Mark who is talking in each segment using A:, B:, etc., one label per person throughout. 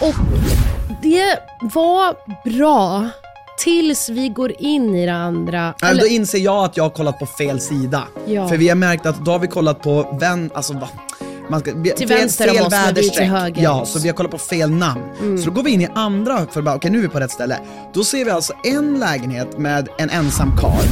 A: Och det var bra tills vi går in i det andra.
B: Nej, Då inser jag att jag har kollat på fel sida.
A: Ja.
B: För vi har märkt att då har vi kollat på vän, alltså va? Man ska, vi,
A: Till
B: fel,
A: vänster om oss, men vi är till
B: väderstreck.
A: höger Mm. om
B: Ja,
A: oss.
B: så vi har kollat på fel namn. Så då går vi in i andra för att bara, okej nu är vi på rätt ställe. Då ser vi alltså en lägenhet med en ensam karl.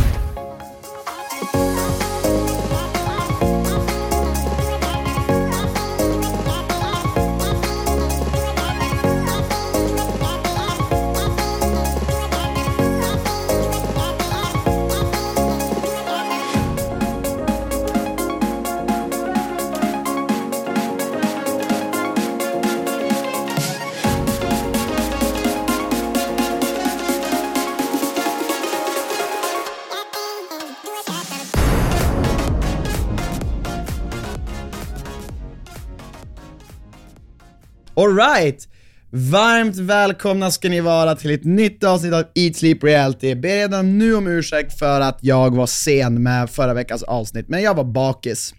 B: Alright! Varmt välkomna ska ni vara till ett nytt avsnitt av Eat Sleep Reality. Ber redan nu om ursäkt för att jag var sen med förra veckans avsnitt, men jag var bakis.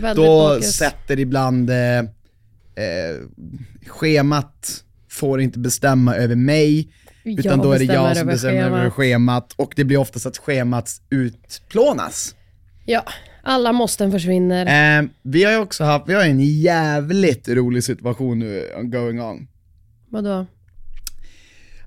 A: Väldigt
B: Då
A: bakis.
B: sätter ibland eh, eh, schemat får inte bestämma över mig, utan
A: Jag
B: då är det
A: bestämmer
B: jag som
A: över
B: bestämmer över
A: schemat.
B: schemat och det blir oftast att schemat utplånas.
A: Ja, alla måsten försvinner.
B: Eh, vi har ju också haft, vi har en jävligt rolig situation nu eh, going on.
A: Vadå?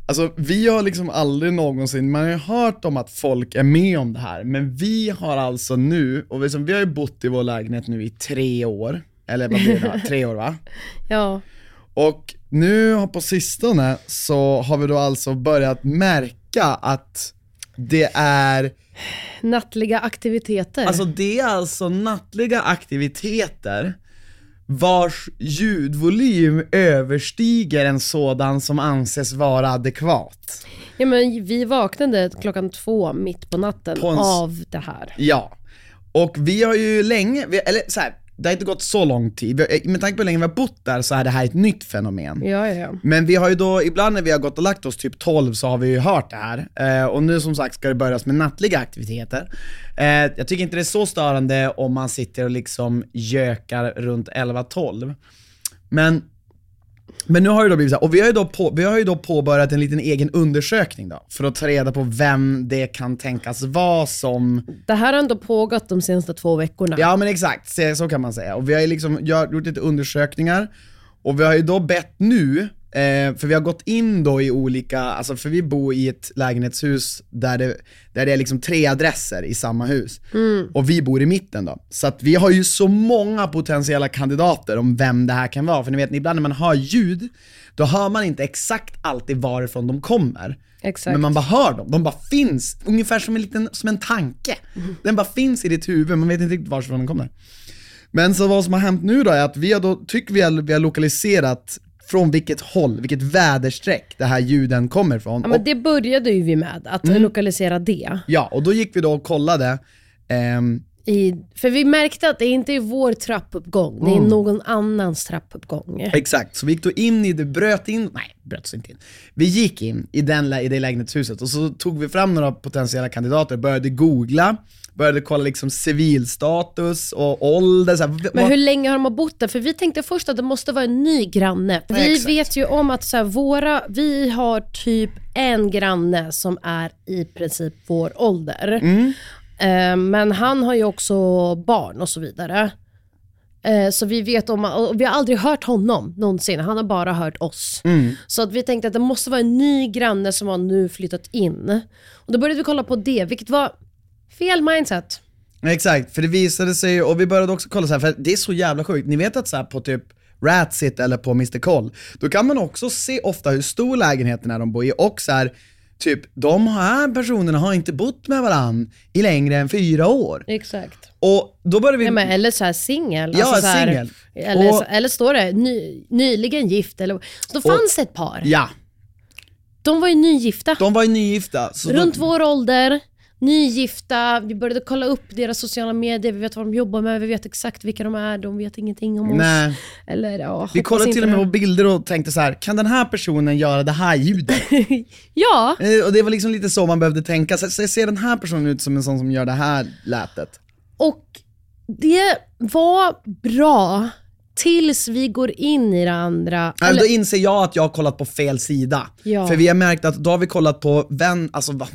B: Alltså vi har liksom aldrig någonsin, man har ju hört om att folk är med om det här, men vi har alltså nu, och liksom, vi har ju bott i vår lägenhet nu i tre år, eller vad blir det? tre år va?
A: Ja,
B: Och nu har på sistone så har vi då alltså börjat märka att det är,
A: nattliga aktiviteter.
B: alltså det är alltså nattliga aktiviteter vars ljudvolym överstiger en sådan som anses vara adekvat.
A: ja, men vi vaknade klockan två mitt på natten
B: På en s-
A: av det här.
B: Ja. Och vi har ju länge, vi, eller så här, det har inte gått så lång tid, Vi- med tanke på hur länge vi har bott där så är det här ett nytt fenomen.
A: Ja, ja, ja.
B: Men vi har ju då, ibland när vi har gått och lagt oss typ 12 så har vi ju hört det här. Eh, och nu som sagt ska det börjas med nattliga aktiviteter. Eh, jag tycker inte det är så störande om man sitter och liksom gökar runt 11-12. Men, men nu har det då blivit så här, och vi har, ju då på, vi har ju då påbörjat en liten egen undersökning då, för att ta reda på vem det kan tänkas vara som
A: Det här har ändå pågått de senaste två veckorna.
B: Ja men exakt, så, så kan man säga. Och vi har ju liksom gör- gjort lite undersökningar och vi har ju då bett nu, eh, för vi har gått in då i olika, alltså för vi bor i ett lägenhetshus där det, där det är liksom tre adresser i samma hus. Och vi bor i mitten då. Så att vi har ju så många potentiella kandidater om vem det här kan vara. För ni vet, ibland när man hör ljud, då hör man inte exakt alltid varifrån de kommer.
A: Exakt.
B: Men man bara hör dem, de bara finns, ungefär som en liten, som en tanke.
A: Mm-hmm.
B: Den bara finns i ditt huvud, man vet inte riktigt varifrån den kommer. Men så vad som har hänt nu då är att vi har då, tycker vi har, vi har lokaliserat från vilket håll, vilket väderstreck det här ljuden kommer ifrån.
A: Ja, men
B: och, Mm.
A: det började ju vi med, att lokalisera det.
B: ja, och då gick vi då och kollade, ehm,
A: I, för vi märkte att det inte är vår trappuppgång, det är
B: Mm.
A: någon annans trappuppgång.
B: Exakt, så vi gick då in i det, bröt in, nej bröt oss inte in. Vi gick in i, den, lä- i det lägenhetshuset och så tog vi fram några potentiella kandidater, började googla, började kolla liksom civilstatus och ålder. Så här, v-
A: Men
B: vad-
A: hur länge har de bott där? För vi tänkte först att det måste vara en ny granne. Vi
B: Nej, exakt.
A: vet ju om att så här, våra, vi har typ en granne som är i princip vår ålder. Eh, men han har ju också barn och så vidare. Eh, Så vi vet om, och vi har aldrig hört honom någonsin, han har bara hört oss. Så att vi tänkte att det måste vara en ny granne som har nu flyttat in. Och då började vi kolla på det, vilket var fel mindset.
B: Exakt, för det visade sig, och vi började också kolla så här, för det är så jävla sjukt. Ni vet att så här på typ Ratsit eller på Mr. Koll, då kan man också se ofta hur stor lägenheten är de bor i och så här, typ de här personerna har inte bott med varann i längre än fyra år.
A: Exakt.
B: Och då började vi...
A: Ja, men, eller så här singel. alltså
B: Ja,
A: så här-
B: singel.
A: Eller,
B: Och-
A: eller står det ny, nyligen gift. Eller, så då fanns det ett par.
B: ja,
A: De var ju nygifta.
B: de var ju nygifta. Så
A: Runt
B: då,
A: vår ålder, nygifta, vi började kolla upp deras sociala medier, vi vet vad de jobbar med, vi vet exakt vilka de är, de vet ingenting om oss.
B: Nej.
A: Eller, ja,
B: vi
A: hoppas
B: kollade
A: inte
B: till och med
A: det.
B: på bilder och tänkte så här, kan den här personen göra det här ljudet?
A: Ja,
B: Eh, och det var liksom lite så man behövde tänka, så, så ser den här personen ut som en sån som gör det här lätet?
A: och det var bra tills vi går in i det andra.
B: Nej,
A: Eller,
B: Då inser jag att jag har kollat på fel sida.
A: Ja.
B: För vi har märkt att då har vi kollat på vän, alltså, va-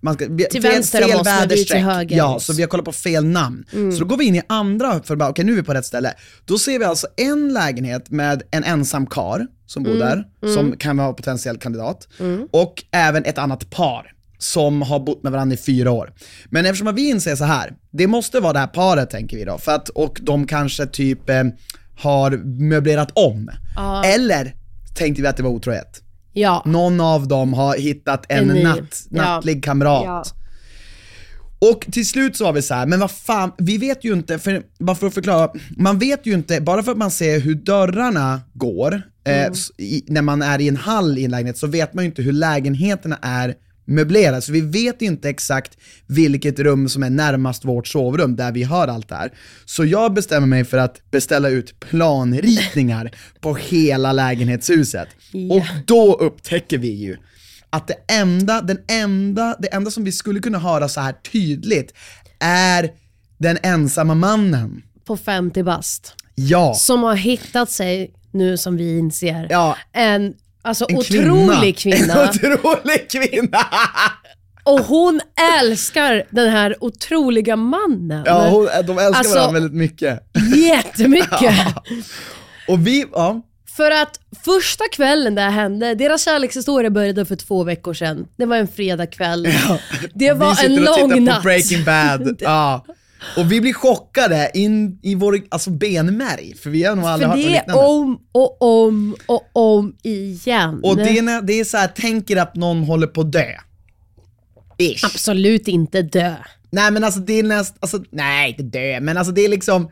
B: man ska, vi,
A: Till vänster om oss, men vi är till höger Mm. om
B: Ja,
A: oss.
B: så vi har kollat på fel namn. Så då går vi in i andra, för bara, okej nu är vi på rätt ställe. Då ser vi alltså en lägenhet med en ensam kar som bor
A: Mm,
B: där, som kan vara potentiell kandidat. Och även ett annat par som har bott med varandra i fyra år. Men eftersom vi inser så här, det måste vara det här paret tänker vi då, för att, och de kanske typ eh, har möblerat om. Eller tänkte vi att det var otrohet.
A: ja.
B: Någon av dem har hittat en,
A: En ny.
B: natt,
A: Ja.
B: nattlig kamrat. Och till slut så var vi så här, men vad fan, vi vet ju inte, för, bara för att förklara, man vet ju inte, bara för att man ser hur dörrarna går, eh, s- i, när man är i en hall i en lägenhet, så vet man ju inte hur lägenheterna är möblerade. Så vi vet ju inte exakt vilket rum som är närmast vårt sovrum, där vi har allt det här. Så jag bestämmer mig för att beställa ut planritningar på hela lägenhetshuset. Och då upptäcker vi ju att det enda, den enda, det enda som vi skulle kunna höra så här tydligt är den ensamma mannen.
A: på 50 bast.
B: Ja.
A: Som har hittat sig, nu som vi inser,
B: Ja.
A: en Alltså
B: En
A: otrolig
B: En
A: kvinna.
B: otrolig kvinna!
A: Och hon älskar den här otroliga mannen.
B: Ja, hon, de älskar
A: Alltså-
B: varandra väldigt mycket.
A: Jättemycket.
B: Och vi, ja.
A: För att första kvällen det här hände, deras kärlekshistoria började för två veckor sedan. Det var en fredagkväll. Det
B: vi
A: var
B: sitter
A: en
B: och tittar
A: lång
B: på
A: natt.
B: Breaking Bad. ja. Och vi blir chockade in i vår alltså, benmärg, för vi har nog aldrig
A: För
B: hört något
A: det är
B: liknande.
A: om och om och om igen.
B: och det är, när- det är så här, tänker att någon håller på att dö. Ish.
A: Absolut inte dö.
B: Nej men alltså det är näst, alltså nej inte dö, men alltså det är liksom,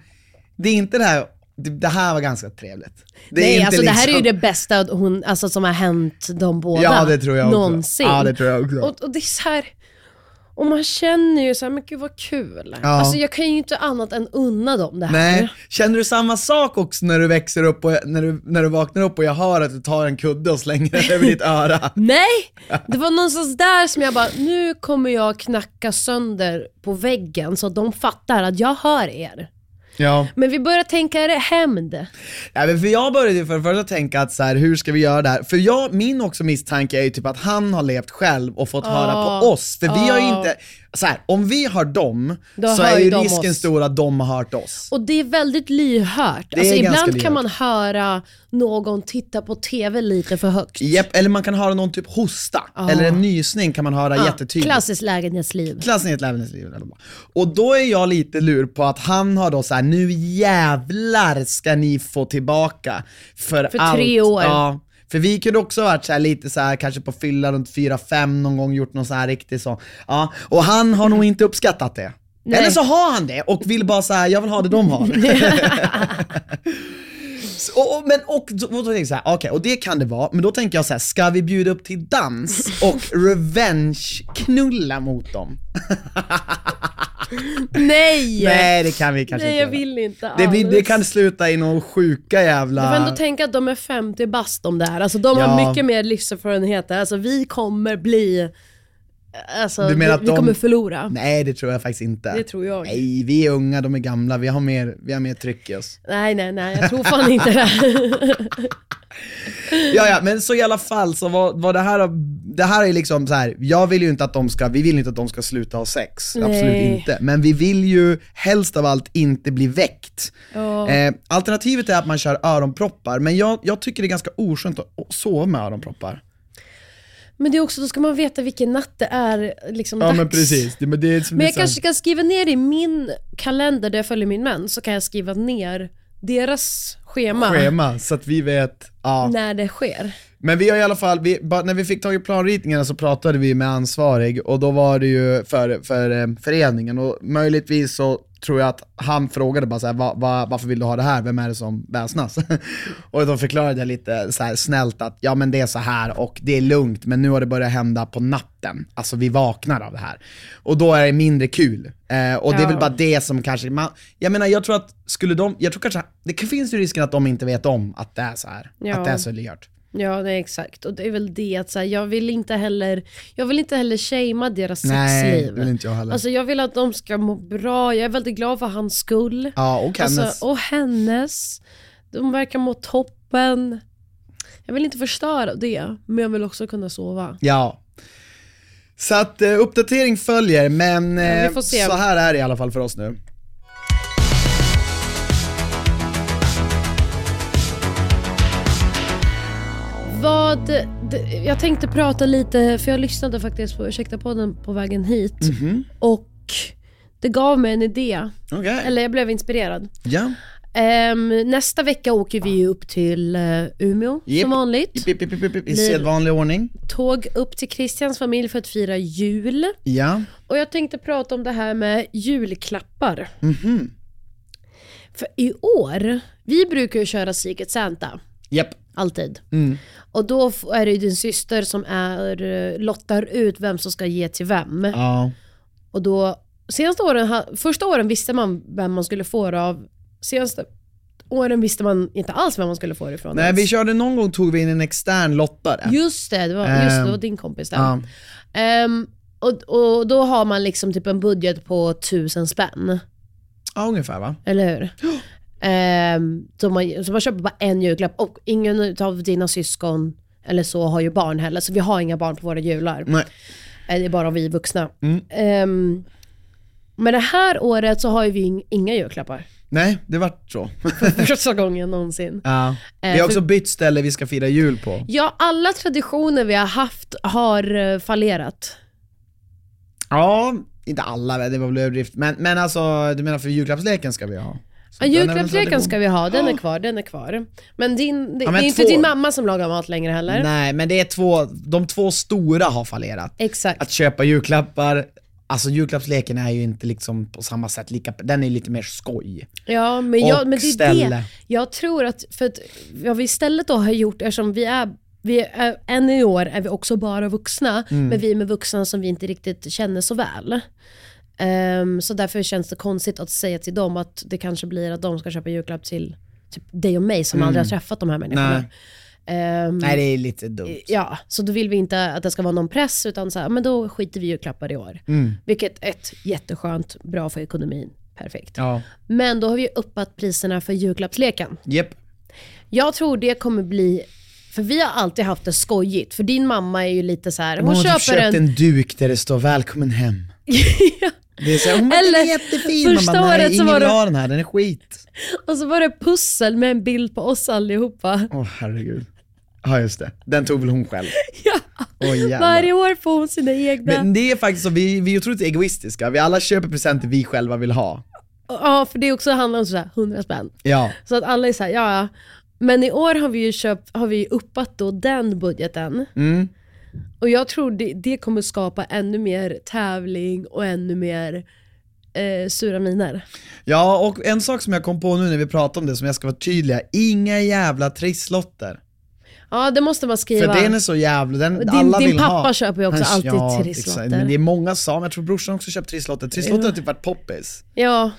B: det är inte det här, det, det här var ganska trevligt. Det är
A: Nej,
B: inte
A: alltså det här är ju
B: liksom-
A: det bästa hon, alltså, som har hänt dem båda.
B: Ja, det tror jag också.
A: Någonsin.
B: Ja, det tror jag också.
A: Och, och det är så här, och man känner ju så här, men gud vad kul.
B: Ja.
A: Alltså jag kan ju inte annat än unna dem det här.
B: Nej, känner du samma sak också när du växer upp och när du, när du vaknar upp och jag hör att du tar en kudde och slänger den över ditt öra?
A: Nej, det var någonstans där som jag bara, nu kommer jag knacka sönder på väggen så att de fattar att jag hör er.
B: Ja.
A: Men vi börjar tänka, är det hämnd?
B: Nej, men för jag började ju för det första tänka att så här, hur ska vi göra det här? För jag, min också misstanke är ju typ att han har levt själv och fått
A: Ah.
B: höra på oss. För vi har ju inte, så här, om vi har dem
A: Då
B: så
A: hör
B: är
A: ju
B: ju
A: de
B: risken
A: oss.
B: stor att de har hört oss.
A: Och det är väldigt lyhört.
B: är
A: alltså,
B: ganska
A: ibland kan
B: lyhört.
A: man höra någon titta på TV lite för högt.
B: Japp, eller man kan höra någon typ hosta, eller en nysning kan man höra
A: Ja,
B: jättetydligt.
A: Klassiskt lägenhetsliv.
B: Klassen i ett lägenhetsliv. Och då är jag lite lur på att han har då så här: nu jävlar ska ni få tillbaka för,
A: För
B: allt.
A: tre år.
B: Ja. För vi kunde också ha varit så här lite så här kanske på fylla runt 4-5 någon gång, gjort någon så här riktigt så. Ja. Och han har nog inte uppskattat det.
A: Nej.
B: Eller så har han det och vill bara så här, jag vill ha det de har. Så- och, och, men, och, då, och då tänker jag så här, okej, och det kan det vara, men då tänker jag så här, ska vi bjuda upp till dans och revenge-knulla mot dem?
A: Nej!
B: Nej det kan vi kanske
A: Nej,
B: inte
A: jag vill inte alls.
B: det, blir, det kan sluta i någon sjuka jävla...
A: Du får ändå tänka att de är 50 bast de där. Alltså de har
B: Ja.
A: mycket mer livserfarenhet. Alltså vi kommer bli... Alltså
B: Du menar att
A: vi, vi
B: de-
A: kommer förlora. Nej.
B: Nej det tror jag faktiskt inte.
A: Det tror jag.
B: Nej, vi är unga, de är gamla, vi har mer, vi har mer tryck i oss.
A: nej, nej, Jag tror fan inte det.
B: Ja, ja, men så i alla fall så var, var det här det här är liksom så här, jag vill ju inte att de ska, vi vill inte att de ska sluta ha sex, absolut
A: Nej.
B: inte. Men vi vill ju helst av allt inte bli väckt. Eh, alternativet är att man kör öronproppar, men jag, jag tycker det är ganska oskönt att sova med öronproppar.
A: Men det är också, då ska man veta vilken natt det är liksom dags.
B: Det, men det är
A: Men jag kanske kan skriva ner i min kalender där jag följer min man, så kan jag skriva ner deras schema,
B: schema, så att vi vet. Ja.
A: när det sker.
B: Men vi har i alla fall, vi, ba- när vi fick tag i planritningarna så pratade vi med ansvarig och då var det ju för, för eh, föreningen och möjligtvis så tror jag att han frågade bara så här, va, va, varför vill du ha det här? Vem är det som väsnas? och då förklarade jag lite så här snällt att ja men det är så här och det är lugnt men nu har det börjat hända på natten. Alltså vi vaknar av det här. Och då är det mindre kul. Eh, och det är väl bara det som kanske, man, jag menar jag tror att skulle de, jag tror kanske, det finns ju risken att de inte vet om att det är så här.
A: Ja.
B: Att det är så lört.
A: Ja, nej, exakt. Och det är väl det att så här, jag vill inte heller, jag vill inte heller shamea deras
B: Nej,
A: sexliv.
B: det vill inte jag heller.
A: Alltså jag vill att de ska må bra, jag är väldigt glad för hans skull.
B: Ja, och hennes.
A: Alltså, och hennes. De verkar må toppen. Jag vill inte förstöra det, men jag vill också kunna sova.
B: Ja. Så att eh, uppdatering följer, men
A: Ja, vi
B: eh,
A: får se.
B: så här är det i alla fall för oss nu.
A: Vad, d- jag tänkte prata lite, för jag lyssnade faktiskt på Ursäkta-podden på vägen hit.
B: Mhm.
A: Och det gav mig en idé,
B: Okej.
A: eller jag blev inspirerad.
B: Ja.
A: Ehm, nästa vecka åker vi ju upp till eh, Umeå
B: Jipp.
A: som vanligt.
B: Jipp, jipp, jipp, jipp, jipp, I
A: Blir-
B: sedvanlig ordning.
A: Tåg upp till Christians familj för att fira jul.
B: Ja.
A: Och jag tänkte prata om det här med julklappar.
B: Mhm.
A: För i år, vi brukar ju köra Secret Santa,
B: Japp.
A: alltid. Och då f- är det ju din syster som är, eh, lottar ut vem som ska ge till vem.
B: Ja.
A: Och då, senaste åren, ha- första åren visste man vem man skulle få det av. Senaste åren visste man inte alls vem man skulle få det ifrån.
B: Nej,
A: ens.
B: vi körde någon gång tog vi in en extern lottare.
A: Just det, det var, just det, det var
B: Ehm,
A: din kompis där.
B: Ja.
A: Ehm, och, och då har man liksom typ en budget på tusen spänn.
B: ja, ungefär va?
A: Eller hur? Ehm, så, man, så man köper bara en julklapp och ingen av dina syskon eller så har ju barn heller, så vi har inga barn på våra jular.
B: Nej. Mm.
A: Eh, Det är bara vi vuxna. Ehm, men det här året så har ju vi ing- inga julklappar.
B: Nej, det vart så.
A: Första gången någonsin.
B: ja. Vi
A: Eh,
B: har också
A: för-
B: bytt ställe vi ska fira jul på.
A: Ja, alla traditioner vi har haft har eh, fallerat.
B: Ja, inte alla, det var väl överdrift. Men, men alltså, du menar för julklappsleken ska vi ha? Så
A: Ja,
B: den är väl
A: julklappsleken
B: tradition.
A: ska vi ha, den är kvar, den är kvar. Men, din, det,
B: Ja, men
A: det är inte
B: två.
A: din mamma som lagar mat längre heller.
B: Nej, men det är två, de två stora har fallerat.
A: Exakt.
B: Att köpa julklappar, alltså julklappsleken är ju inte liksom på samma sätt lika, den är ju lite mer
A: Mm.
B: skoj.
A: Ja, men, jag,
B: Och
A: men det är det.
B: ställe.
A: Jag tror att, för att vad vi istället då har gjort, eftersom vi är, vi är, än i år är vi också bara vuxna,
B: Mm.
A: men vi är med vuxna som vi inte riktigt känner så väl. Ehm, så därför känns det konstigt att säga till dem att det kanske blir att de ska köpa julklapp till typ, dig och mig som aldrig har träffat de här människorna.
B: Mm. Nej.
A: Ehm,
B: Nej det är lite dumt.
A: Ja, så då vill vi inte att det ska vara någon press, utan så här, men då skiter vi i julklappar i år. Vilket är ett jätteskönt, bra för ekonomin. Perfekt.
B: Ja.
A: Men då har vi uppat priserna för julklappsleken.
B: Japp.
A: Jag tror det kommer bli, för vi har alltid haft det skojigt, för din mamma är ju lite så här, hon köper en...
B: duk där det står “Välkommen hem”. Det är så, här, hon
A: Eller,
B: Eller, den är jättefin,
A: första
B: man bara,
A: året så
B: nej, ingen
A: var
B: vill
A: det-
B: ha den här, den är skit.
A: Och så Alltså var det pussel med en bild på oss allihopa.
B: Åh herregud. Ja just det, den tog väl hon själv.
A: Ja.
B: Åh, jävlar.
A: Varje år får hon sina egna.
B: Men det är faktiskt så, vi, vi är otroligt egoistiska, vi alla köper presenter vi själva vill ha.
A: Ja, för det också handlar om sådär 100 spänn.
B: Ja.
A: Så att alla är såhär, ja ja. Men i år har vi ju köpt, har vi ju uppat då den budgeten. Och jag tror det, det kommer skapa ännu mer tävling och ännu mer eh, sura miner.
B: Ja, och en sak som jag kom på nu när vi pratade om det, som jag ska vara tydliga, inga jävla trisslotter.
A: Ja det måste man
B: För
A: skriva.
B: den är så jävla, den
A: Din-
B: alla
A: din
B: vill
A: pappa
B: ha.
A: köper ju också alltid trisslotter.
B: exakt. Men det är många som, jag tror brorsan också köpt trisslotter. Trisslotter har typ varit poppis.
A: Ja,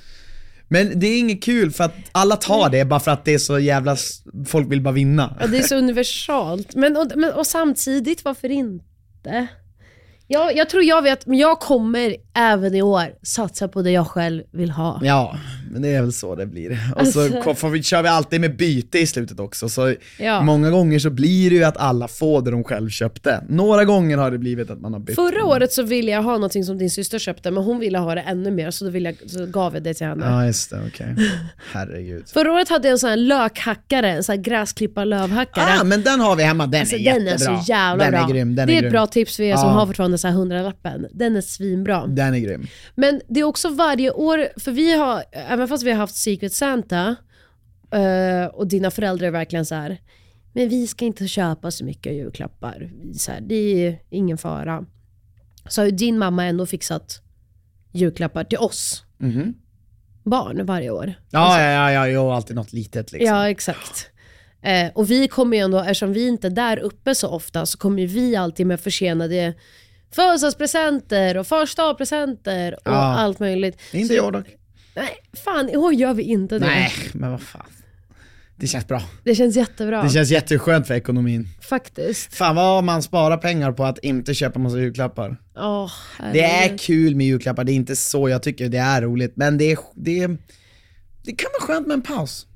B: Men det är inget kul för att alla tar det bara för att det är så jävla, s- folk vill bara vinna.
A: ja, det är så universalt. Men och, men och samtidigt, varför inte? Ja, jag tror jag vet, men jag kommer även i år satsa på det jag själv vill ha.
B: Ja, men det är väl så det blir. Och så ko- får vi, kör vi alltid med byte i slutet också, så
A: Alltså- Ja.
B: många gånger så blir det ju att alla får det de själv köpte. Några gånger har det blivit att man har bytt.
A: Förra året så ville jag ha någonting som din syster köpte, men hon ville ha det ännu mer, så då ville jag, så gav jag det till henne.
B: Ja just det, okej. Herregud.
A: Förra året hade jag en sån här lökhackare, en sån här gräsklippa-lövhackare.
B: Ah, men den har vi hemma, den
A: Alltså,
B: är
A: den
B: jättebra.
A: är så jävla
B: den
A: bra.
B: Är grym, den
A: det är,
B: är
A: ett
B: grym.
A: bra tips för er som
B: Ja.
A: har fortfarande så här hundralappen. Den är svinbra.
B: Den är grym.
A: Men det är också varje år, för vi har, även fast vi har haft Secret Santa eh, och dina föräldrar är verkligen så här, men vi ska inte köpa så mycket julklappar. Vi Så här, det är ingen fara. Så har ju din mamma ändå fixat julklappar till oss
B: Mhm.
A: barn varje år.
B: Ja, ja, ja, ja, jag har alltid något litet liksom.
A: Ja, exakt. Eh, och vi kommer ju ändå, eftersom vi inte är där uppe så ofta, så kommer ju vi alltid med försenade födelsedagspresenter och försdagspresenter och
B: Ja.
A: allt möjligt.
B: Inte
A: Så-
B: jag dock.
A: Nej, fan i år gör vi inte det.
B: Nej, men vad fan. Det känns bra.
A: Det känns jättebra
B: Det känns jätteskönt för ekonomin.
A: faktiskt.
B: Fan vad man sparar pengar på att inte köpa massa julklappar.
A: Åh, herregud.
B: Det är kul med julklappar, det är inte så jag tycker det är roligt, men det, är, det, är, det kan vara skönt med en paus.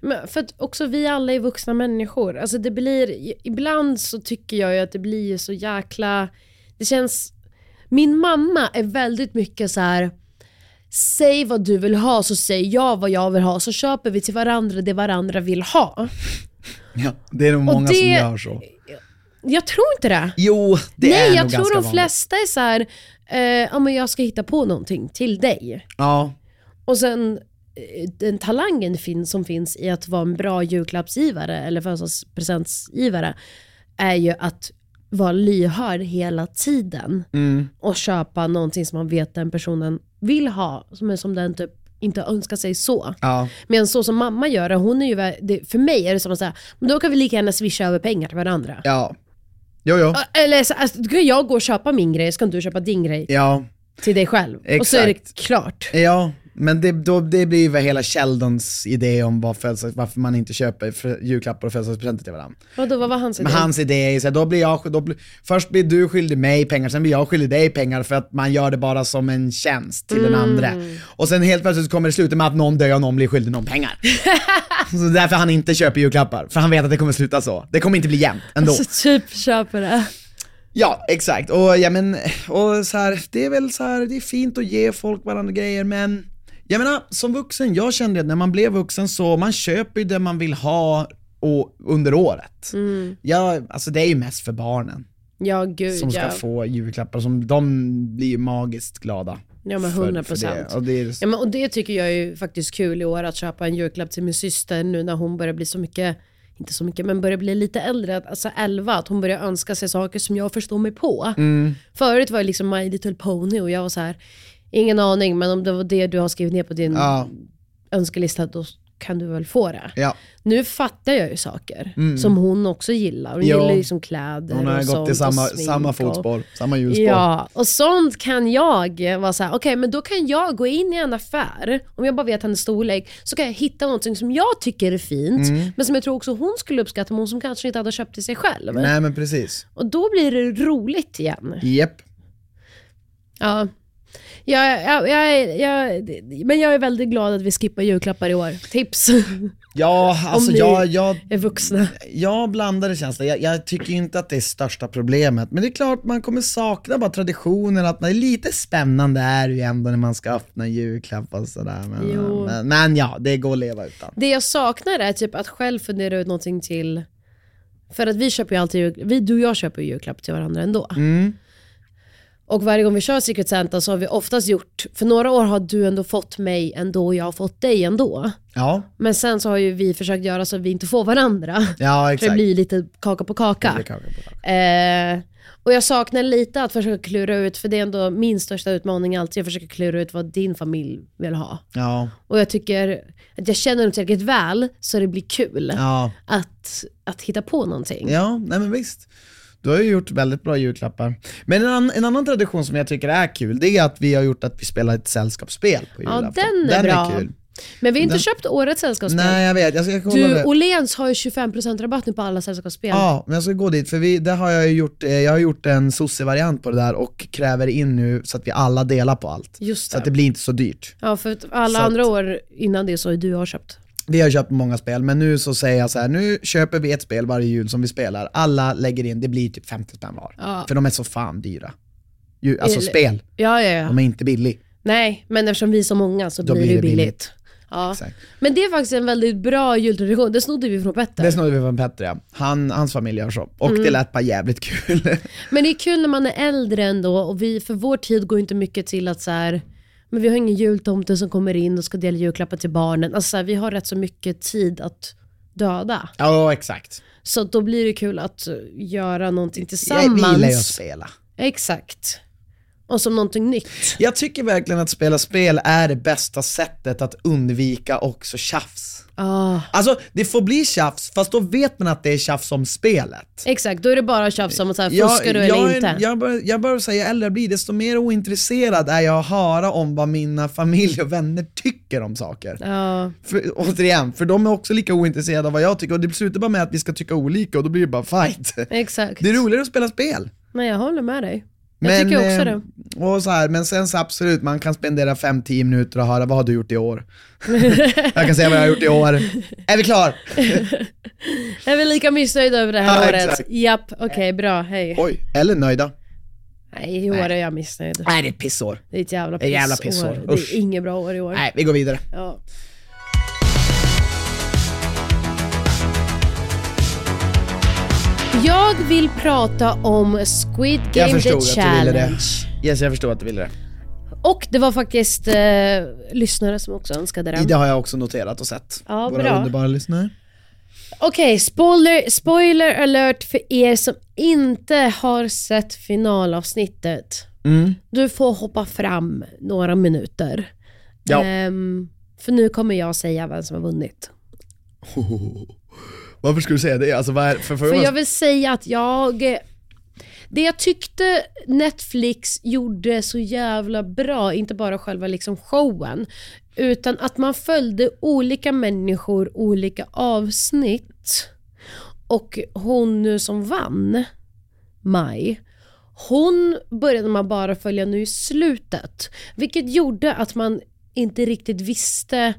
A: Men för att också vi alla är vuxna människor. Alltså det blir, ibland så tycker jag ju att det blir så jäkla, det känns, min mamma är väldigt mycket så här. Säg vad du vill ha så säger jag vad jag vill ha så köper vi till varandra det varandra vill ha.
B: Ja, det är nog
A: Och
B: många som
A: det-
B: gör så.
A: Jag tror inte det.
B: Jo, det är
A: Nej,
B: nog
A: jag tror
B: ganska
A: de
B: vanligt.
A: flesta är så här, eh, ja men jag ska hitta på någonting till dig.
B: Ja,
A: Och sen eh, den talangen fin- som finns i att vara en bra julklappsgivare eller födelsedagspresentsgivare är ju att vara lyhörd hela tiden
B: Mm.
A: och köpa någonting som man vet den personen vill ha, som är som den typ inte önskar sig så.
B: ja.
A: Men så som mamma gör det, hon är ju, vä- det, för mig är det som att säga, men då kan vi lika gärna swisha över pengar till varandra.
B: Ja. Jo, jo.
A: Ä- Eller så, alltså, då kan jag gå och köpa min grej, ska inte du köpa din grej
B: Ja,
A: till dig själv? Och så är det klart.
B: ja. Men det, då, det blir ju vad hela Sheldons idé om vad födelsedags- varför man inte köper frö- julklappar och födelsedagspresenter till varandra.
A: Vadå, vad var hans idé?
B: Men hans idé är ju såhär, då blir jag, då blir, först blir du skyldig mig pengar, sen blir jag skyldig dig pengar för att man gör det bara som en tjänst till
A: Mm.
B: den andra. Och sen helt plötsligt så kommer det sluta med att någon dör och någon blir skyldig någon pengar. så det är därför han inte köper julklappar, för han vet att det kommer sluta så. Det kommer inte bli jämnt ändå.
A: Så typ köper det.
B: Ja, exakt. Och, ja, men, och så här, det är väl så här, det är fint att ge folk varandra grejer, men jag menar, som vuxen, jag kände att när man blev vuxen så, man köper ju det man vill ha och, under året.
A: Mm.
B: Ja, alltså det är ju mest för barnen
A: Ja gud
B: som ska
A: ja.
B: få julklappar, som, de blir ju magiskt glada.
A: Ja, men
B: för-
A: 100%.
B: För det. Och det är,
A: Ja, men, och det tycker jag är ju faktiskt kul i år att köpa en julklapp till min syster nu när hon börjar bli så mycket, inte så mycket, men börjar bli lite äldre, att- alltså 11, att hon börjar önska sig saker som jag förstår mig på.
B: Mm.
A: Förut var det liksom My Little Pony och jag var så här, ingen aning men om det var det du har skrivit ner på din
B: ja,
A: önskelista då kan du väl få det.
B: ja. Mm.
A: Nu fattar jag ju saker som hon också gillar. Hon
B: Ja.
A: gillar ju liksom kläder
B: Hon har
A: och sånt
B: gått i samma,
A: och smink
B: samma
A: och-
B: fotspår, samma hjulspår.
A: Ja, och sånt kan jag vara så här: okej men då kan jag gå in i en affär, om jag bara vet hennes storlek, så kan jag hitta någonting som jag tycker är fint, men som jag tror också hon skulle uppskatta, men hon som kanske inte hade köpt till sig själv.
B: Nej men precis.
A: Och då blir det roligt igen.
B: Jep.
A: Ja. Jag, jag, jag, jag, men jag är väldigt glad att vi skippar julklappar i år. Tips!
B: Ja, alltså
A: ni-
B: jag, jag
A: är vuxna.
B: Ja, blandade känslor. Jag, jag tycker ju inte att det är största problemet. Men det är klart, man kommer sakna bara traditionen. Att man, lite spännande är det ju ändå när man ska öppna en julklapp och sådär. Men,
A: Jo.
B: men, men ja, det går att leva utan.
A: Det jag saknar är typ att själv fundera ut någonting till. För att vi köper ju alltid, jul- vi, du och jag köper ju julklapp till varandra ändå.
B: Mm.
A: Och varje gång vi kör Secret Santa så har vi oftast gjort, för några år har du ändå fått mig ändå och jag har fått dig ändå.
B: Ja,
A: Men sen så har ju vi försökt göra så att vi inte får varandra.
B: ja
A: För det
B: exakt.
A: blir lite kaka på kaka. Eh, och jag saknar lite att försöka klura ut, för det är ändå min största utmaning alltid, att försöka klura ut vad din familj vill ha.
B: Ja,
A: Och jag tycker att jag känner dem tillräckligt väl så det blir kul
B: ja.
A: att, att hitta på någonting.
B: Ja, nej men visst. Du har ju gjort väldigt bra julklappar. Men en, ann- en annan tradition som jag tycker är kul, det är att vi har gjort att vi spelar ett sällskapsspel på
A: Ja,
B: julafton.
A: den är bra.
B: kul.
A: Men vi har inte köpt årets sällskapsspel.
B: Nej jag vet, jag ska kolla
A: du,
B: det.
A: Åhléns har ju 25% rabatt nu på alla sällskapsspel.
B: Ja, men jag ska gå dit för vi, det har jag ju gjort, eh, jag har gjort en sosse-variant på det där och kräver in nu så att vi alla delar på allt.
A: Just
B: Så att
A: det.
B: det blir inte så dyrt.
A: Ja, för att alla
B: Så att-
A: andra år innan det så har ju du har köpt.
B: Vi har köpt många spel, men nu så säger jag så här, nu köper vi ett spel varje jul som vi spelar. Alla lägger in, det blir typ 50 spänn var.
A: Ja.
B: För de är så fan dyra. Ju, alltså
A: Eller-
B: spel,
A: Ja, ja, ja.
B: de är inte billig.
A: Nej, men eftersom vi är så många så
B: Då
A: blir det
B: blir det
A: ju billigt.
B: billigt.
A: Ja.
B: Exakt.
A: Men det är faktiskt en väldigt bra jultradition. Det snodde vi från Petter.
B: Det snodde vi från Petter ja. Han, hans familj gör så.
A: Mm.
B: Och det lät bara jävligt kul.
A: Men det är kul när man är äldre ändå och vi, för vår tid går inte mycket till att så här, men vi har ingen jultomte som kommer in och ska dela julklappar till barnen. Alltså så här, vi har rätt så mycket tid att döda.
B: Ja, exakt.
A: Så då blir det kul att eh, göra någonting
B: Jag, vi
A: tillsammans.
B: gillar ju att spela.
A: Exakt. Och som någonting nytt.
B: Jag tycker verkligen att spela spel är det bästa sättet att undvika också tjafs.
A: Ah,
B: Alltså det får bli tjafs, fast då vet man att det är tjafs om spelet.
A: exakt, då är det bara tjafs om att så här,
B: Jag-
A: Eh, fuskar du
B: jag,
A: eller
B: är-
A: inte.
B: Jag bör, jag bör säga, ju äldre jag blir, desto mer ointresserad är jag att höra om vad mina familj och vänner tycker om saker.
A: Ja,
B: För, återigen, för de är också lika ointresserade av vad jag tycker och det slutar bara med att vi ska tycka olika och då blir det bara fight.
A: exakt.
B: Det är roligare att spela spel.
A: Nej, jag håller med dig. Jag tycker också det.
B: eh, Och så här, men sen så absolut, man kan spendera 5-10 minuter och höra vad har du gjort i år? jag kan säga vad jag har gjort i år. Är vi klar?
A: Är vi lika missnöjda över det här
B: Ja,
A: året?
B: exakt.
A: Japp, okej, bra, hej.
B: Oj, eller nöjda.
A: Nej, i år är jag missnöjd.
B: Nej det är ett pissår.
A: Det är ett jävla
B: är ett jävla
A: pissår.
B: pissår.
A: Det
B: Usch.
A: är inget bra år i år.
B: Nej, vi går vidare.
A: Ja. Jag vill prata om Squid
B: Jag
A: Game The
B: förstod att du ville det.
A: Challenge.
B: Yes, jag förstår att du ville det.
A: Och det var faktiskt eh, lyssnare som också önskade den.
B: Det har jag också noterat och sett.
A: Ja,
B: Våra
A: bra.
B: underbara lyssnare.
A: Okej, spoiler, spoiler alert för er som inte har sett finalavsnittet.
B: Mm.
A: Du får hoppa fram några minuter.
B: Ja.
A: Ehm, för nu kommer jag säga vem som har vunnit.
B: Varför skulle du säga det? Alltså, vad är, för, för,
A: För jag vill säga att jag... eh, Det jag tyckte Netflix gjorde så jävla bra, inte bara själva liksom showen, utan att man följde olika människor, olika avsnitt. Och hon nu som vann, Maj, hon började man bara följa nu i slutet. Vilket gjorde att man inte riktigt visste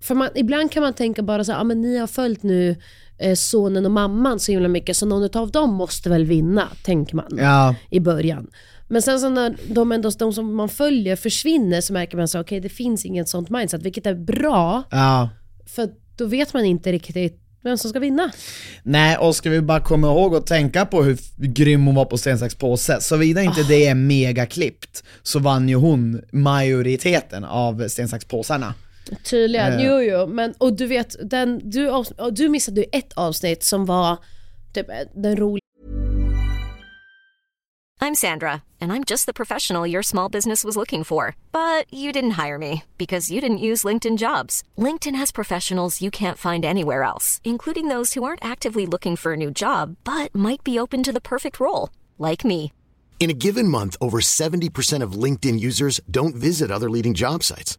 A: för man, ibland kan man tänka bara så här, ah, men ni har följt nu eh, sonen och mamman så himla mycket så någon av dem måste väl vinna, tänker man
B: Ja,
A: i början. Men sen så när de, ändå, de som man följer försvinner så märker man så okej det finns inget sånt mindset, vilket är bra
B: ja.
A: för att då vet man inte riktigt vem som ska vinna.
B: Nej, och ska vi bara komma ihåg att tänka på hur f- grym hon var på sten, sax, påse. Såvida inte
A: Ah.
B: det är megaklippt så vann ju hon majoriteten av sten, sax, påsarna.
A: Tydligen,
B: Eh.
A: jo jo. Men, och du vet, den, du, avs- och du missade ju ett avsnitt som var typ den roliga
C: I'm Sandra, and I'm just the professional your small business was looking for. But you didn't hire me because you didn't use LinkedIn jobs. LinkedIn has professionals you can't find anywhere else, including those who aren't actively looking for a new job but might be open to the perfect role, like me.
D: In a given month, over 70% of LinkedIn users don't visit other leading job sites.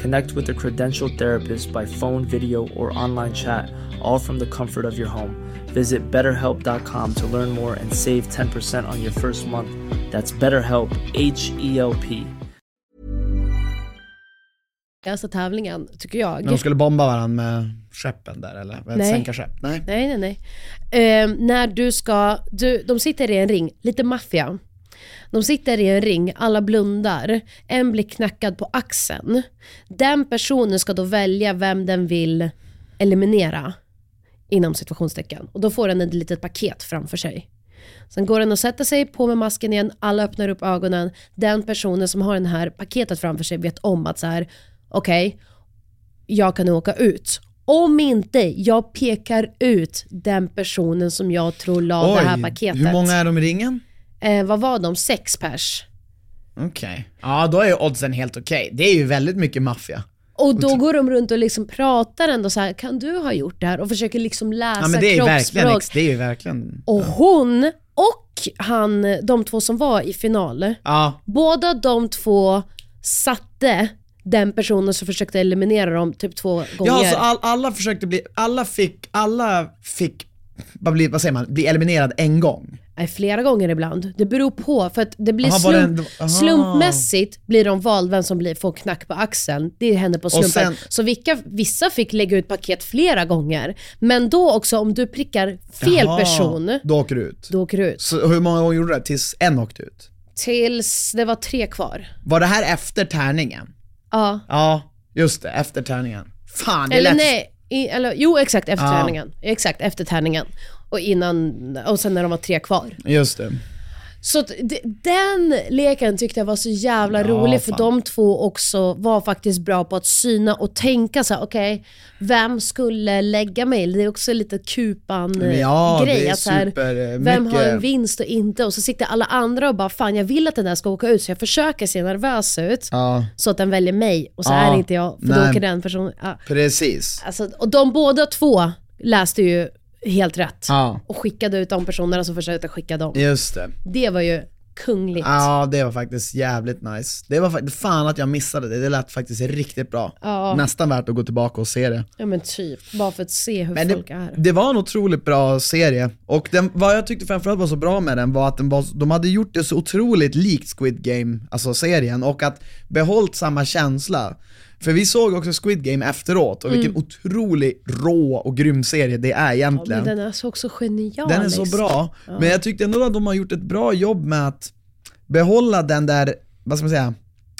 E: Connect with a credentialed therapist by phone, video, or online chat, all from the comfort of your home. Visit betterhelp.com to learn more and save 10% on your first month. That's BetterHelp, H E L P.
A: tävlingen, tycker jag.
B: När de skulle bomba varandra med skeppen där eller? Med
A: Nej.
B: Nej. Sänka skepp? Nej.
A: Nej, nej, nej. Ehm, när du ska, du, de sitter i en ring, lite maffia. De sitter i en ring, alla blundar. En blir knackad på axeln. Den personen ska då välja vem den vill eliminera. Inom situationstecken. Och då får den ett litet paket framför sig. Sen går den och sätter sig på med masken igen, alla öppnar upp ögonen. Den personen som har det här paketet framför sig vet om att så här, okej, jag kan åka ut Om inte jag pekar ut den personen som jag tror la det här paketet.
B: hur många är de i ringen?
A: eh, vad var de? Sex pers.
B: Okej. Ja, då är ju oddsen helt okej. Det är ju väldigt mycket maffia.
A: Och då går de runt och liksom pratar ändå så här, kan du ha gjort det här? Och försöker liksom läsa
B: Ja men det är ju verkligen,
A: kroppsspråk.
B: ex- det är ju verkligen...
A: Och hon och han, de två som var i final,
B: Ja,
A: båda de två satte den personen som försökte eliminera dem typ två gånger.
B: Ja, så all, alla försökte bli, alla fick, alla fick, vad, blir, vad säger man, bli eliminerad en gång.
A: Nej, flera gånger ibland. Det beror på, för att det blir
B: Aha, var det
A: slump,
B: en- aha.
A: slumpmässigt blir de vald vem som blir, får knack på axeln. Det händer på slumpen.
B: sen-
A: så vilka, vissa fick lägga ut paket flera gånger. Men då också, om du prickar fel
B: Jaha,
A: person,
B: Då åker du ut.
A: då åker du ut.
B: Så hur många gånger gjorde du det? Tills en åkte ut?
A: Tills det var tre kvar.
B: Var det här efter tärningen?
A: Ja.
B: Ja, just det, efter tärningen. Fan, det
A: Eller
B: lät...
A: nej, i, eller, jo exakt efter tärningen. Exakt efter tärningen. Och innan, och sen när de var tre kvar.
B: Just det.
A: Så att d- den leken tyckte jag var så jävla rolig för de två också var faktiskt bra på att syna och tänka så här: okej, vem skulle lägga mig? Det är också lite kupan-grej.
B: Ja, det är
A: att så här,
B: super, eh,
A: vem har en
B: mycket-
A: vinst och inte? Och så sitter alla andra och bara, fan jag vill att den där ska åka ut så jag försöker se nervös ut.
B: Ja,
A: Så att den väljer mig och så
B: Ja,
A: är det inte jag, för då
B: nej.
A: åker den personen. Ja.
B: precis.
A: Alltså, och de båda två läste ju helt rätt.
B: Ja,
A: Och skickade ut de personerna som försökte skicka dem.
B: just det.
A: Det var ju kungligt.
B: Ja, det var faktiskt jävligt nice. Det var faktiskt, fan att jag missade det, det lät faktiskt riktigt bra.
A: Ja.
B: Nästan värt att gå tillbaka och se det.
A: Ja men typ, bara för att se hur
B: Men
A: folk
B: det,
A: är.
B: det var en otroligt bra serie, och den, vad jag tyckte framförallt var så bra med den var att den var, de hade gjort det så otroligt likt Squid Game, alltså serien, och att behållt samma känsla. För vi såg också Squid Game efteråt, och
A: Mm.
B: vilken otrolig rå och grym serie det är
A: Ja,
B: egentligen.
A: men den är så också genial.
B: Den är så
A: liksom.
B: bra, men jag tyckte ändå att de har gjort ett bra jobb med att behålla den där, vad ska man säga,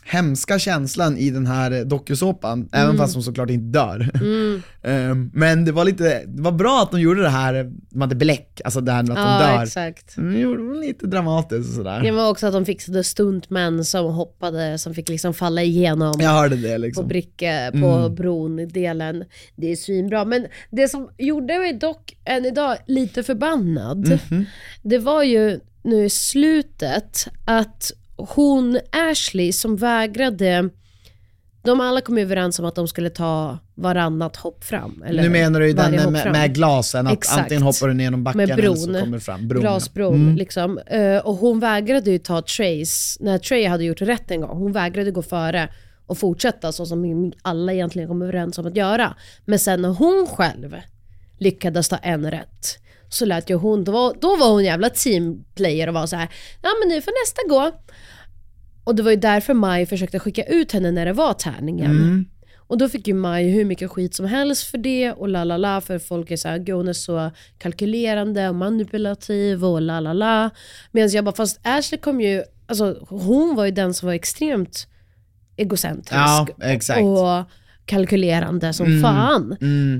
B: hemska känslan i den här dokusåpan,
A: Mm.
B: även fast de såklart inte dör. Ehm, men det var lite, det var bra att de gjorde det här, de hade bläck, alltså det här med att de
A: Ja
B: dör.
A: exakt.
B: De gjorde det lite dramatiskt och sådär.
A: Det var också att de fixade stuntmän som hoppade, som fick liksom falla igenom.
B: Jag hörde det
A: på
B: liksom.
A: Bricke, på bron-delen. Det är svinbra. Men det som gjorde mig dock än idag lite förbannad,
B: Mhm.
A: det var ju nu i slutet att hon Ashley som vägrade, de alla kom överens om att de skulle ta varannat hopp fram. Eller
B: Nu menar du ju den
A: varje
B: med,
A: hopp fram.
B: med glasen, att
A: Exakt.
B: antingen hoppar du ner genom backen
A: Med
B: eller så
A: bron.
B: kommer du fram. Bron. ja. Mm.
A: Glasbron liksom. Eh, och hon vägrade ju ta Trace, när Trey hade gjort rätt en gång, hon vägrade gå före och fortsätta så som alla egentligen kom överens om att göra. Men sen när hon själv lyckades ta en rätt, så lät ju hon, då var, då var hon jävla teamplayer och var så här, ja men nu får nästa gå. Och det var ju därför Maj försökte skicka ut henne när det var tärningen.
B: Mm.
A: Och då fick ju Maj hur mycket skit som helst för det och la la la för folk är såhär, hon är så kalkylerande och manipulativ och la la la. Medan jag bara, fast Ashley kom ju, alltså hon var ju den som var extremt egocentrisk
B: Ja, exakt. Mm.
A: och kalkylerande som fan.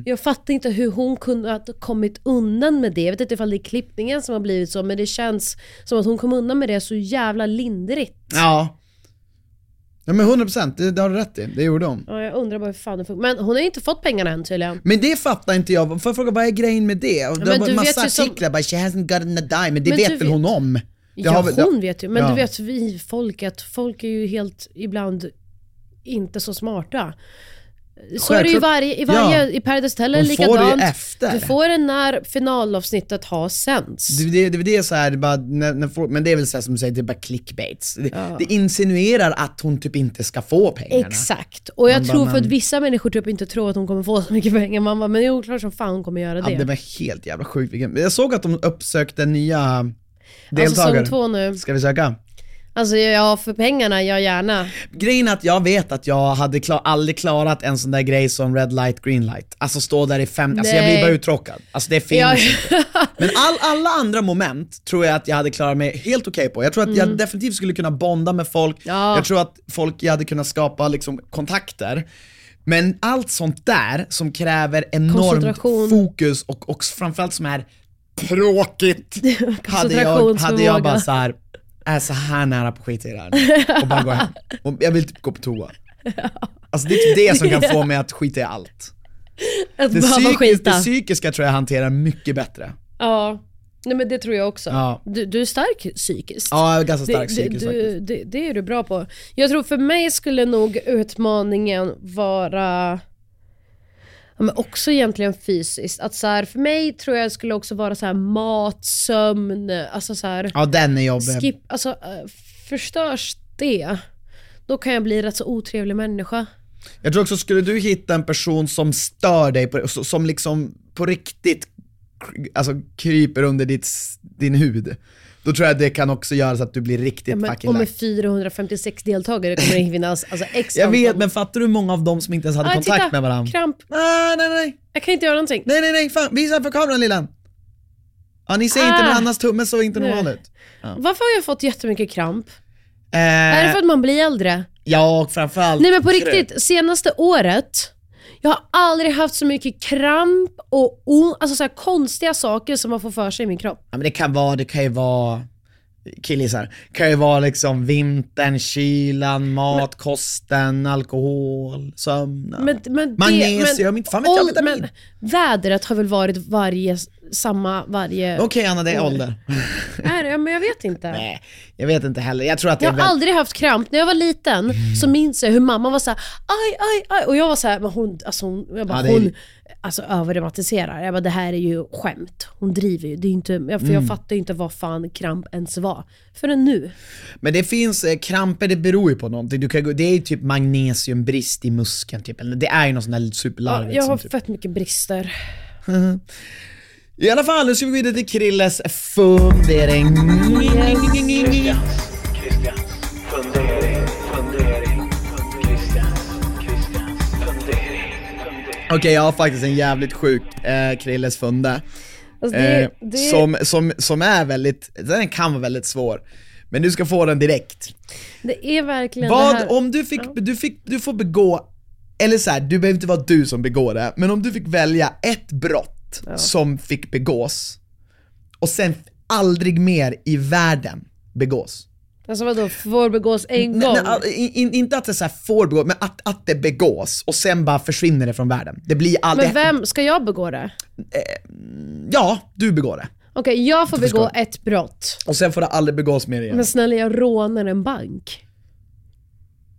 A: Jag fattar inte hur hon kunde ha kommit undan med det. Jag vet inte ifall det är klippningen som har blivit så, men det känns som att hon kom undan med det så jävla lindrigt.
B: Ja. Ja men 100%, det, det har du rätt i, det gjorde de.
A: Ja, jag undrar bara hur fan det funkar. Men hon har ju inte fått pengarna än tydligen.
B: Men det fattar inte jag, får jag fråga vad är grejen med det? Och det
A: men
B: var
A: du
B: massa
A: vet ju som-
B: artiklar bara 'she hasn't gotten a dime' men det
A: Men
B: vet
A: du
B: väl hon
A: vet-
B: om? Det
A: Ja,
B: har väl-
A: hon vet ju. Men
B: Ja.
A: du vet vi folk, att folk är ju helt ibland inte så smarta. Så är det ju i
B: Självklart.
A: varje, i varje,
B: Ja.
A: i Paradise Hotel är
B: Hon
A: det
B: får det ju
A: likadant.
B: efter.
A: Du får den när finalavsnittet har sänts.
B: Det, det, det, det är så här, det är bara, när, när folk, men det är väl så här som du säger, det är bara clickbaits. Det, det insinuerar att hon typ inte ska få pengarna.
A: Exakt. Och jag
B: Man bara,
A: tror för att
B: men-
A: vissa människor typ inte tror att hon kommer få så mycket pengar. Man bara, men jo, klart som fan hon kommer göra
B: Ja,
A: det.
B: det var helt jävla sjukt. vilken- Jag såg att de uppsökte nya
A: alltså
B: deltagare.
A: säsong två nu.
B: Ska vi söka?
A: Alltså ja, för pengarna, ja gärna.
B: Grejen är att jag vet att jag hade klar, aldrig klarat en sån där grej som red light, green light. Alltså stå där i fem, alltså jag
A: Nej.
B: blir bara uttråkad. Alltså det finns
A: Ja.
B: inte. Men all, alla andra moment tror jag att jag hade klarat mig helt okej på. Jag tror att jag definitivt skulle kunna bonda med folk,
A: Mm. Ja.
B: jag tror att folk, jag hade kunnat skapa liksom kontakter. Men allt sånt där som kräver enormt
A: Koncentration.
B: fokus och, och framförallt som är pråkigt, hade jag, hade
A: Koncentrationsförmåga.
B: jag bara så här är så här nära på att skita i det här nu. och bara gå hem. Och jag vill typ gå på toa. Alltså det är typ det som kan få mig att skita i allt.
A: Att
B: Det,
A: behöva
B: psykis,
A: skita.
B: det psykiska tror jag hanterar mycket bättre.
A: ja. Nej men det tror jag också.
B: Ja.
A: Du, du är stark psykiskt.
B: Ja, jag är ganska stark
A: det,
B: psykiskt
A: det,
B: faktiskt.
A: du, det, det är du bra på. Jag tror för mig skulle nog utmaningen vara ja, men också egentligen fysiskt. Att så här, för mig tror jag skulle också vara så här mat, sömn, alltså så här,
B: Ja, den är jobbig.
A: skip, alltså eh, förstörs det, då kan jag bli rätt så otrevlig människa.
B: Jag tror också, skulle du hitta en person som stör dig, på, så- som liksom på riktigt kry- alltså, kryper under ditt, s- din hud, då tror jag det kan också göra så att du blir riktigt
A: Ja, men,
B: fucking
A: och med
B: lack.
A: 456 deltagare kommer det finnas alltså, x
B: Jag
A: antal-
B: vet, men fattar du hur många av dem som inte ens hade
A: Ah,
B: kontakt
A: titta,
B: med varandra?
A: Kramp.
B: Ah, nej, nej,
A: Jag kan inte göra någonting.
B: nej, nej, nej, fan, visa för kameran lillan. Ja, ni ser inte, men
A: Ah.
B: annars tummen såg inte
A: Nej.
B: normal ut.
A: Varför har jag fått jättemycket kramp?
B: Eh,
A: Är det för att man blir äldre?
B: Ja, och framförallt.
A: Nej men på riktigt, senaste året, jag har aldrig haft så mycket kramp och on- alltså så här konstiga saker som man får för sig i min kropp.
B: Ja, men det kan vara, det kan ju vara killisar, kan ju vara liksom vintern, kylan, mat, kosten, alkohol, sömn.
A: Men, men det,
B: Magnesium,
A: men,
B: inte fan vet jag,
A: ål-
B: vitamin.
A: men vädret har väl varit varje, samma varje...
B: Okej Anna, det är ålder.
A: Är det? Men jag vet inte.
B: Nej, jag vet inte heller. Jag tror att det
A: Jag
B: är
A: har
B: väl...
A: aldrig haft kramp. När jag var liten
B: Mm.
A: så minns jag hur mamma var så här, aj, aj, aj. Och jag var så här, men hon, alltså hon, jag bara,
B: Ja, det är-
A: hon alltså, överdramatiserar. Jag bara, det här är ju skämt. Hon driver ju. Det är inte, jag- för
B: Mm.
A: jag fattar ju inte vad fan kramp ens var. Förrän nu.
B: Men det finns eh, kramper, det beror ju på någonting. Du kan, gå- det är ju typ magnesiumbrist i muskeln typ, eller det är ju någon sån där
A: Ja,
B: superlarvigt.
A: jag
B: som
A: har
B: typ.
A: fett mycket brister.
B: I alla fall, nu ska vi gå vidare till Krilles fundering. Okej, jag har faktiskt en jävligt sjuk eh, Krilles funde.
A: Alltså, det,
B: Eh,
A: det,
B: som, som, som är väldigt, den kan vara väldigt svår. Men du ska få den direkt.
A: det är verkligen det
B: Vad
A: här.
B: om du fick, du fick, du får begå, eller så här, du behöver inte vara du som begår det, men om du fick välja ett brott som fick begås och sen aldrig mer i världen begås.
A: Alltså vadå, får begås en gång?
B: Nej, nej, all- in, in, inte att det så här får begås, men att, att det begås och sen bara försvinner det från världen. Det blir aldrig...
A: men vem, ska jag begå det?
B: Ja, du begår det.
A: Okej, jag får begå ett brott.
B: Och sen får det aldrig begås mer igen.
A: Men snälla, jag rånar en bank.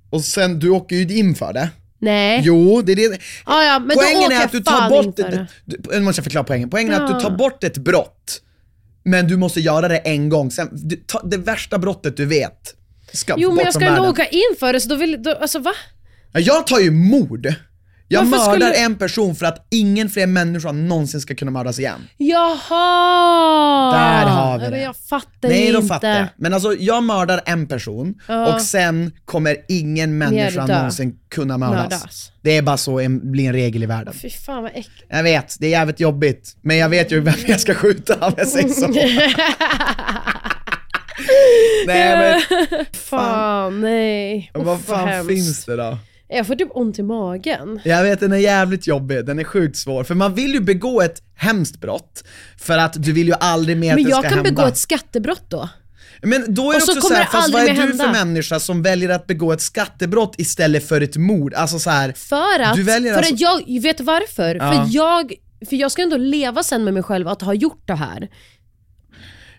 B: Och sen, du åker ju in för det.
A: Nej.
B: Jo, det är det.
A: Ah, ja, men då
B: poängen
A: åker
B: är
A: jag
B: att du
A: fan
B: tar bort
A: inte
B: ett,
A: det.
B: du, nu måste jag förklara poängen. Poängen är att
A: Ja.
B: du tar bort ett brott, men du måste göra det en gång. Sen, du, ta, det värsta brottet du vet ska
A: Jo
B: bort
A: men jag
B: från
A: ska ändå
B: världen.
A: åka in för det så då vill, då, alltså va?
B: Ja, Jag tar ju mord. Jag
A: Varför
B: mördar
A: skulle-
B: en person för att ingen fler människor någonsin ska kunna mördas igen.
A: Jaha!
B: Där har vi
A: Ja,
B: det.
A: men Jag fattar
B: Nej,
A: ju
B: då
A: inte.
B: fattar jag. Men alltså, jag mördar en person och sen kommer ingen människa
A: dö.
B: någonsin kunna mördas.
A: Mördas.
B: Det är bara så en, blir en regel i världen.
A: Fy fan vad äckligt.
B: Jag vet, det är jävligt jobbigt. Men jag vet ju vem jag ska skjuta om
A: Mm.
B: jag säger så. Nej
A: Fan nej.
B: men
A: Uff,
B: vad fan
A: hemskt.
B: finns det då?
A: Jag får typ ont i magen.
B: Jag vet den är jävligt jobbig, den är sjukt svår. För man vill ju begå ett hemskt brott, för att du vill ju aldrig mer att
A: Men
B: det
A: jag
B: ska
A: kan
B: hända.
A: begå ett skattebrott då.
B: Men då är det
A: Och så
B: också
A: kommer
B: såhär,
A: det
B: fast vad är
A: aldrig
B: du
A: mer
B: för
A: hända.
B: människa som väljer att begå ett skattebrott istället för ett mord? Alltså såhär,
A: För att,
B: Du väljer
A: för
B: alltså-
A: att jag, vet du varför? För, jag, för jag ska ändå leva sen med mig själv att ha gjort det här.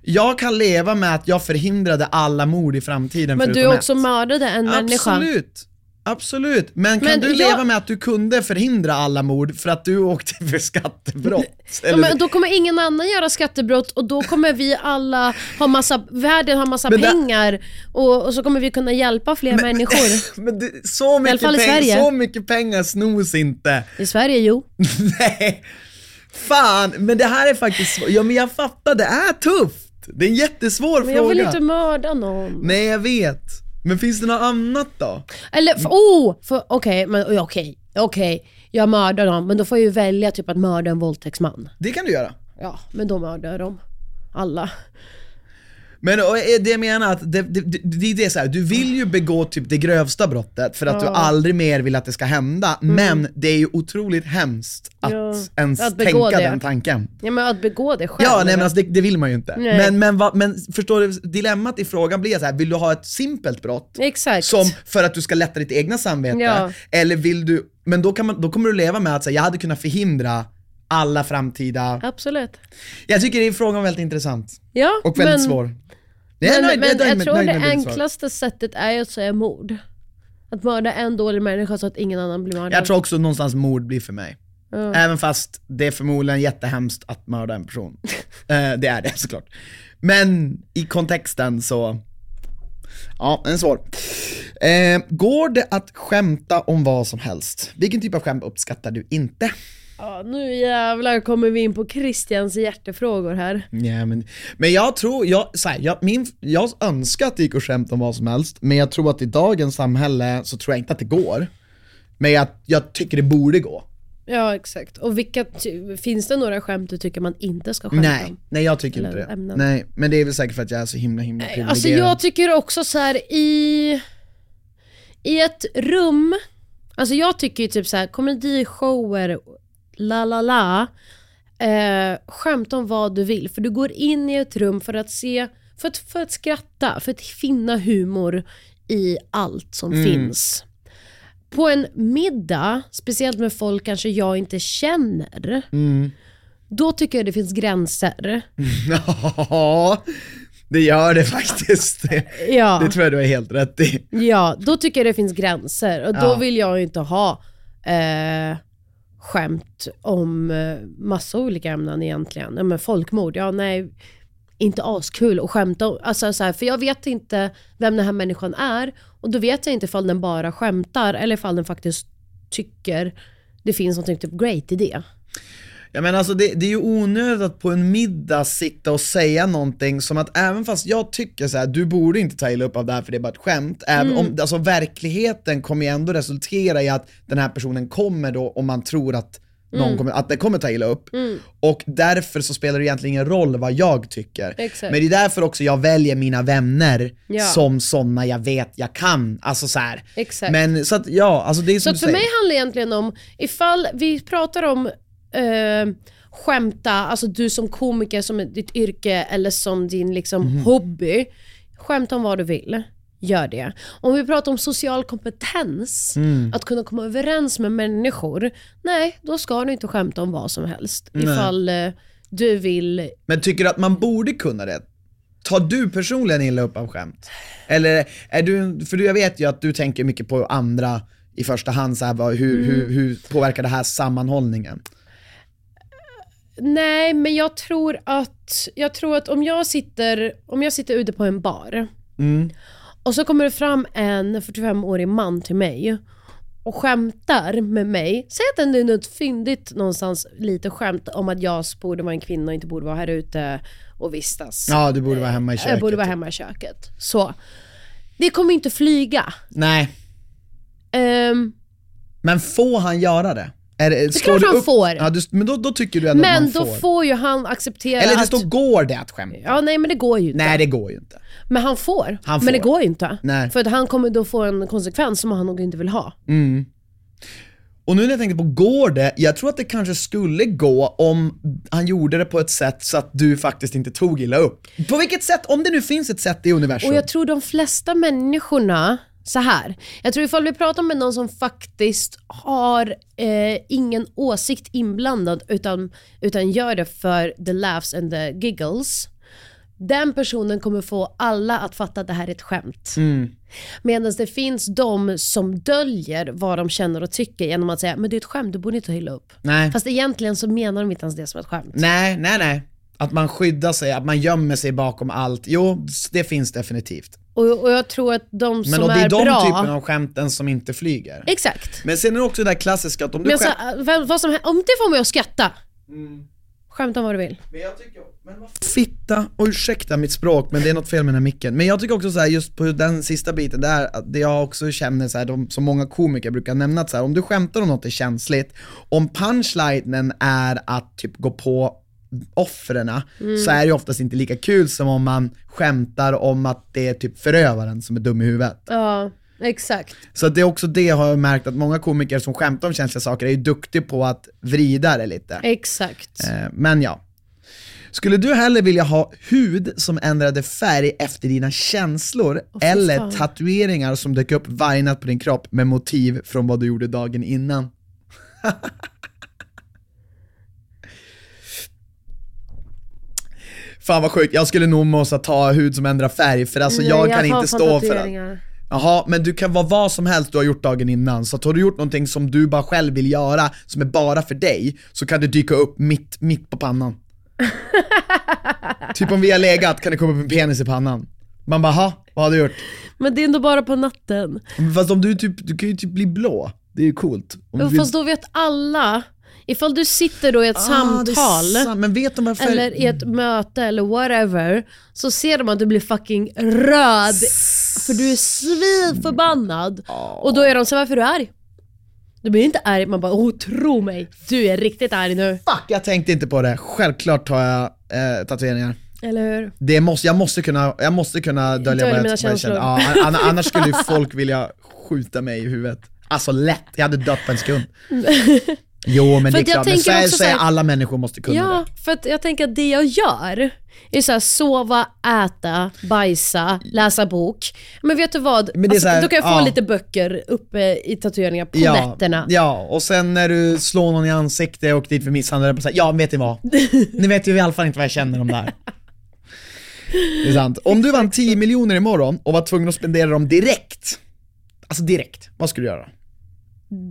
B: jag kan leva med att jag förhindrade alla mord i framtiden
A: Men du
B: förutom
A: också
B: ett.
A: mördade en människa.
B: Absolut. Absolut, men kan
A: Men
B: du
A: jag-
B: leva med att du kunde förhindra alla mord för att du åkte för skattebrott?
A: Ja,
B: Eller-
A: men då kommer ingen annan göra skattebrott och då kommer vi alla ha massa, världen ha massa
B: Men det-
A: pengar och, och så kommer vi kunna hjälpa fler människor.
B: Men det, så, mycket
A: fall i
B: peng,
A: Sverige.
B: så mycket pengar snos inte.
A: I Sverige, jo.
B: Nej. Fan, men det här är faktiskt svårt. Ja men jag fattar, det är tufft. Det är en jättesvår
A: Men
B: fråga.
A: jag vill inte mörda någon.
B: Nej jag vet. Men finns det något annat då?
A: Eller, för, oh! för- Okej, men ja, okej, okej. Jag mördar dem, men då får jag ju välja typ att mörda en våldtäktsman.
B: Det kan du göra.
A: Ja, men då mördar jag dem. Alla.
B: Men och, eh, det jag menar att det, det, det, det, det är så här, du vill ju begå typ det grövsta brottet för att du aldrig mer vill att det ska hända, men det är ju otroligt hemskt att
A: Mm. Ja,
B: ens
A: att begå
B: tänka
A: det.
B: den tanken.
A: Ja, men att begå det själv.
B: Ja, nej,
A: eller?
B: men alltså, det, det vill man ju inte.
A: Nej.
B: Men, men, vad- men förstår du, dilemmat i frågan blir så här, vill du ha ett simpelt brott?
A: Exakt.
B: Som för att du ska lätta ditt egna samvete?
A: Ja.
B: Eller vill du, men då, kan man, då kommer du leva med att säga, jag hade kunnat förhindra alla framtida...
A: Absolut.
B: Jag tycker det är frågan väldigt intressant.
A: Ja,
B: Och väldigt
A: men,
B: svår. Jag är
A: Men,
B: nöjd-
A: men
B: är
A: jag,
B: nöjd med-
A: tror
B: nöjd
A: det
B: med mitt svar.
A: enklaste sättet är ju att säga mord. Att mörda en dålig människa så att ingen annan blir mördad.
B: Jag tror också någonstans mord blir för mig. Även fast det är förmodligen jättehemskt att mörda en person. Eh, det är det såklart. Men i kontexten så, ja den är svår. Eh, går det att skämta om vad som helst? Vilken typ av skämt uppskattar du inte?
A: Ja, nu jävlar kommer vi in på Christians hjärtefrågor här.
B: Ja, men, men jag tror, jag, så här, jag, min, jag önskar att det gick att skämta om vad som helst, men jag tror att i dagens samhälle så tror jag inte att det går. Men jag, jag tycker det borde gå.
A: Ja, exakt. Och vilka ty- finns det några skämt du tycker man inte ska skämta
B: Nej,
A: om?
B: nej jag tycker
A: Eller
B: inte det.
A: ämnen.
B: Nej, men det är väl säkert för att jag är så himla himla privilegierad.
A: Alltså jag tycker också så här i... I ett rum, alltså jag tycker ju typ så här komedishower, la la la, eh, skämt om vad du vill. För du går in i ett rum för att se, för att, för att skratta, för att finna humor i allt som
B: Mm.
A: finns. På en middag, speciellt med folk kanske jag inte känner,
B: Mm.
A: då tycker jag det finns gränser.
B: Ja, det gör det faktiskt. Det,
A: Ja.
B: det tror jag du har helt rätt i.
A: Ja, då tycker jag det finns gränser och då
B: Ja.
A: vill jag ju inte ha eh, skämt om eh, massa olika ämnen egentligen. Ja, men folkmord, ja nej, inte askul att skämta om. Alltså, så här, för jag vet inte vem den här människan är och då vet jag inte ifall den bara skämtar eller ifall den faktiskt tycker det finns något typ great i det.
B: Ja, men alltså det, det är ju onödigt att på en middag sitta och säga någonting som att även fast jag tycker så här, du borde inte ta illa upp av det här för det är bara ett skämt. Även
A: Mm.
B: om, alltså verkligheten kommer ju ändå resultera i att den här personen kommer då, om man tror att någon
A: Mm.
B: kommer, att det kommer ta illa upp. Och därför så spelar det egentligen ingen roll vad jag tycker.
A: Exakt.
B: Men det är därför också jag väljer mina vänner
A: Ja.
B: som sådana jag vet jag kan. Alltså så här.
A: Exakt.
B: Men så att ja, alltså det är
A: Så
B: som
A: att
B: du
A: för
B: säger.
A: mig handlar det egentligen om, ifall vi pratar om eh, skämta, alltså du som komiker, som ditt yrke eller som din liksom
B: Mhm.
A: hobby. Skämta om vad du vill. Gör det. Om vi pratar om social kompetens,
B: Mm.
A: att kunna komma överens med människor. Nej, då ska du inte skämta om vad som helst. Ifall eh, du vill
B: Men tycker du att man borde kunna det? Tar du personligen illa upp av skämt? Eller är du, för du- jag vet ju att du tänker mycket på andra i första hand, så här, vad, hur,
A: Mm.
B: hur, hur påverkar det här sammanhållningen?
A: Nej, men jag tror att, jag tror att om, jag sitter, om jag sitter ute på en bar
B: Mm.
A: och så kommer det fram en 45-årig man till mig och skämtar med mig. Säg att det är något fyndigt någonstans, lite skämt om att jag borde vara en kvinna och inte borde vara här ute och vistas.
B: Ja, du borde vara hemma i köket.
A: Eh,
B: typ.
A: jag borde vara hemma i köket. Så. Det kommer inte flyga.
B: Nej,
A: Ehm,
B: men får han göra det? Är det, står
A: klart
B: du
A: han får.
B: Ja, du, men då, då tycker du ändå att
A: men
B: man
A: då
B: får.
A: får. ju han acceptera
B: Eller det
A: att...
B: står, går det att skämta?
A: Ja, nej men det går ju inte.
B: Nej, det går ju inte.
A: Men han får.
B: Han får.
A: Men det går ju inte.
B: Nej. Mm,
A: För att han kommer då få en konsekvens som han nog inte vill ha.
B: Och nu när jag tänker på, går det? Jag tror att det kanske skulle gå om han gjorde det på ett sätt så att du faktiskt inte tog illa upp. På vilket sätt? Om det nu finns ett sätt i universum.
A: Och jag tror de flesta människorna, så här. Jag tror ifall vi pratar med någon som faktiskt har eh, ingen åsikt inblandad utan, utan gör det för the laughs and the giggles. Den personen kommer få alla att fatta att det här är ett skämt.
B: Mm.
A: Medan det finns de som döljer vad de känner och tycker genom att säga men det är ett skämt, du borde inte hylla upp.
B: Nej.
A: Fast egentligen så menar de inte ens det som ett skämt.
B: Nej, nej, nej. Att man skyddar sig, att man gömmer sig bakom allt. Jo, det finns definitivt.
A: Och, och jag tror att de
B: Men
A: som
B: och det är de
A: bra...
B: typen av skämten som inte flyger.
A: Exakt.
B: Men sen är det också det där klassiska att om du
A: Men alltså,
B: skäm-
A: vem, vad som händer, om det får mig att skratta. Skämta om vad du vill.
B: Fitta, och ursäkta mitt språk men det är något fel med den här micken. Men jag tycker också så här, just på den sista biten där, att det jag också känner så här, de, som många komiker brukar nämna, att så här, om du skämtar om något är känsligt, om punchlinen är att typ gå på offren så är det ju oftast inte lika kul som om man skämtar om att det är typ förövaren som är dum i huvudet.
A: Ja, exakt.
B: Så att det är också det har jag märkt att många komiker som skämtar om känsliga saker är ju duktiga på att vrida det lite.
A: Exakt.
B: Eh, Men ja. Skulle du hellre vilja ha hud som ändrade färg efter dina känslor
A: fy
B: eller
A: fan.
B: tatueringar som dök upp varje natt på din kropp med motiv från vad du gjorde dagen innan? Fan vad sjukt, jag skulle nog måste ta hud som ändrar färg för alltså
A: Nej,
B: jag kan
A: har
B: inte
A: fan
B: stå för det.
A: tatueringar.
B: Jaha, men du kan vara vad som helst du har gjort dagen innan, så att har du gjort någonting som du bara själv vill göra, som är bara för dig, så kan det dyka upp mitt, mitt på pannan. typ om vi har legat kan det komma upp en penis i pannan. Man bara, ha, vad har du gjort?
A: Men det är ändå bara på natten.
B: Men Fast om du typ, du kan ju typ bli blå. Det är ju coolt. Om du vill-
A: Fast då vet alla, ifall du sitter då i ett
B: Ah, det är
A: samtal
B: sant. men vet de varför?
A: eller i ett möte eller whatever, så ser de att du blir fucking röd för du är svinförbannad. Och då är de så här, varför är du arg? Du blir inte arg, man bara oh, tro mig, du är riktigt arg nu.
B: Fuck, jag tänkte inte på det. Självklart tar jag eh, tatueringar.
A: Eller hur?
B: Det måste, jag, måste kunna, jag måste kunna dölja
A: Dölja
B: vad jag,
A: mina
B: vad jag känner.
A: känslor.
B: Ja, an- an- annars skulle ju folk vilja skjuta mig i huvudet. Alltså lätt, jag hade dött på en sekund. Jo men det
A: För
B: är
A: att jag
B: klart, men
A: tänker
B: så är,
A: också
B: så är
A: så här-
B: alla människor måste kunna
A: Ja, för att jag tänker att det jag gör är så här, sova, äta, bajsa, läsa bok. Men vet du vad? Alltså,
B: Men det är så här,
A: då kan jag få
B: ja.
A: lite böcker uppe i tatueringar på
B: det.
A: nätterna.
B: ja, och sen när du slår någon i ansiktet och åker dit för misshandel, bara så här, ja men vet ni vad? Ni vet ju i alla fall inte vad jag känner om det här. Det är sant. Om du vann 10 miljoner imorgon och var tvungen att spendera dem direkt, alltså direkt, vad skulle du göra?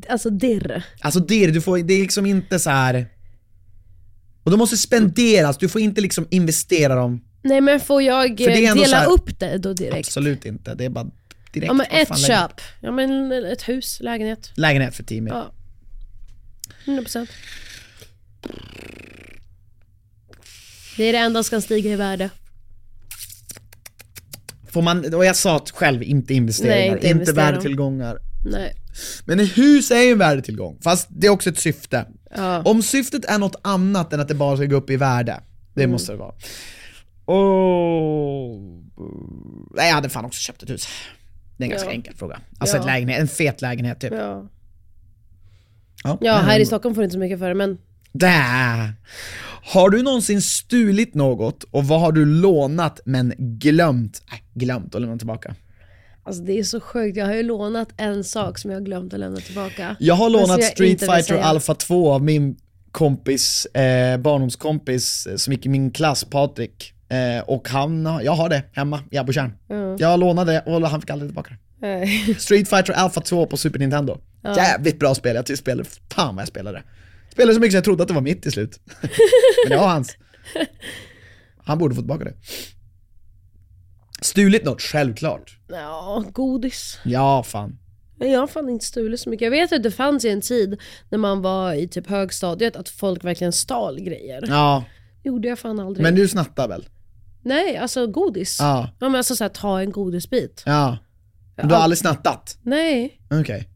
A: Alltså dirr.
B: Alltså det, du får, det är liksom inte så här. Och de måste spenderas, du får inte liksom investera dem.
A: Nej men får jag
B: För det är
A: eh,
B: ändå så
A: dela
B: här-
A: upp det då direkt?
B: Absolut inte, det är bara direkt.
A: Ja men
B: Vad
A: ett
B: fan, lägen-
A: köp. Ja men ett hus, lägenhet.
B: Lägenhet för 10 miljoner.
A: Ja. 100%. Det är det enda som kan stiga i värde.
B: Får man, och jag sa att själv, inte investeringar,
A: Nej, inte
B: inte,
A: investera.
B: värdetillgångar.
A: Nej.
B: Men ett hus är ju en värdetillgång, fast det är också ett syfte.
A: Ja.
B: Om syftet är något annat än att det bara ska gå upp i värde, det
A: Mm.
B: måste det vara. Oh. Nej, jag hade fan också köpt ett hus. Det är en ganska
A: Ja.
B: enkel fråga. Alltså
A: Ja.
B: ett lägenhet, en fet lägenhet typ.
A: Ja.
B: Ja,
A: ja, här i Stockholm får du inte så mycket för det men
B: Där. Har du någonsin stulit något och vad har du lånat men glömt? Äh, glömt och lämnat tillbaka.
A: Alltså det är så sjukt, jag har ju lånat en sak som jag har glömt att lämna tillbaka.
B: Jag har
A: Men som
B: lånat
A: Alltså, jag
B: Street
A: inte vill
B: Fighter
A: säga.
B: Alpha 2 av min kompis, eh, barndomskompis eh, som gick i min klass, Patrik. Eh, och han, har- jag har det hemma i Abotjärn. Jag lånade det och han fick aldrig tillbaka det.
A: Nej.
B: Street Fighter Alpha 2 på Super Nintendo. Jävligt bra spel, jag tycker spelade, fan vad jag spelade. Spelade så mycket så jag trodde att det var mitt till slut. Men det var hans. Han borde få tillbaka det. Stulit något, självklart.
A: Ja, godis.
B: Ja, fan.
A: Men Jag har fan inte stulit så mycket. Jag vet att det fanns ju en tid när man var i typ högstadiet att folk verkligen stal grejer.
B: Ja,
A: Det gjorde jag fan aldrig.
B: men du snattar väl?
A: Nej, alltså godis.
B: Ja.
A: Ja men alltså såhär, ta en godisbit.
B: Ja. Men du har aldrig snattat?
A: Nej,
B: Okej.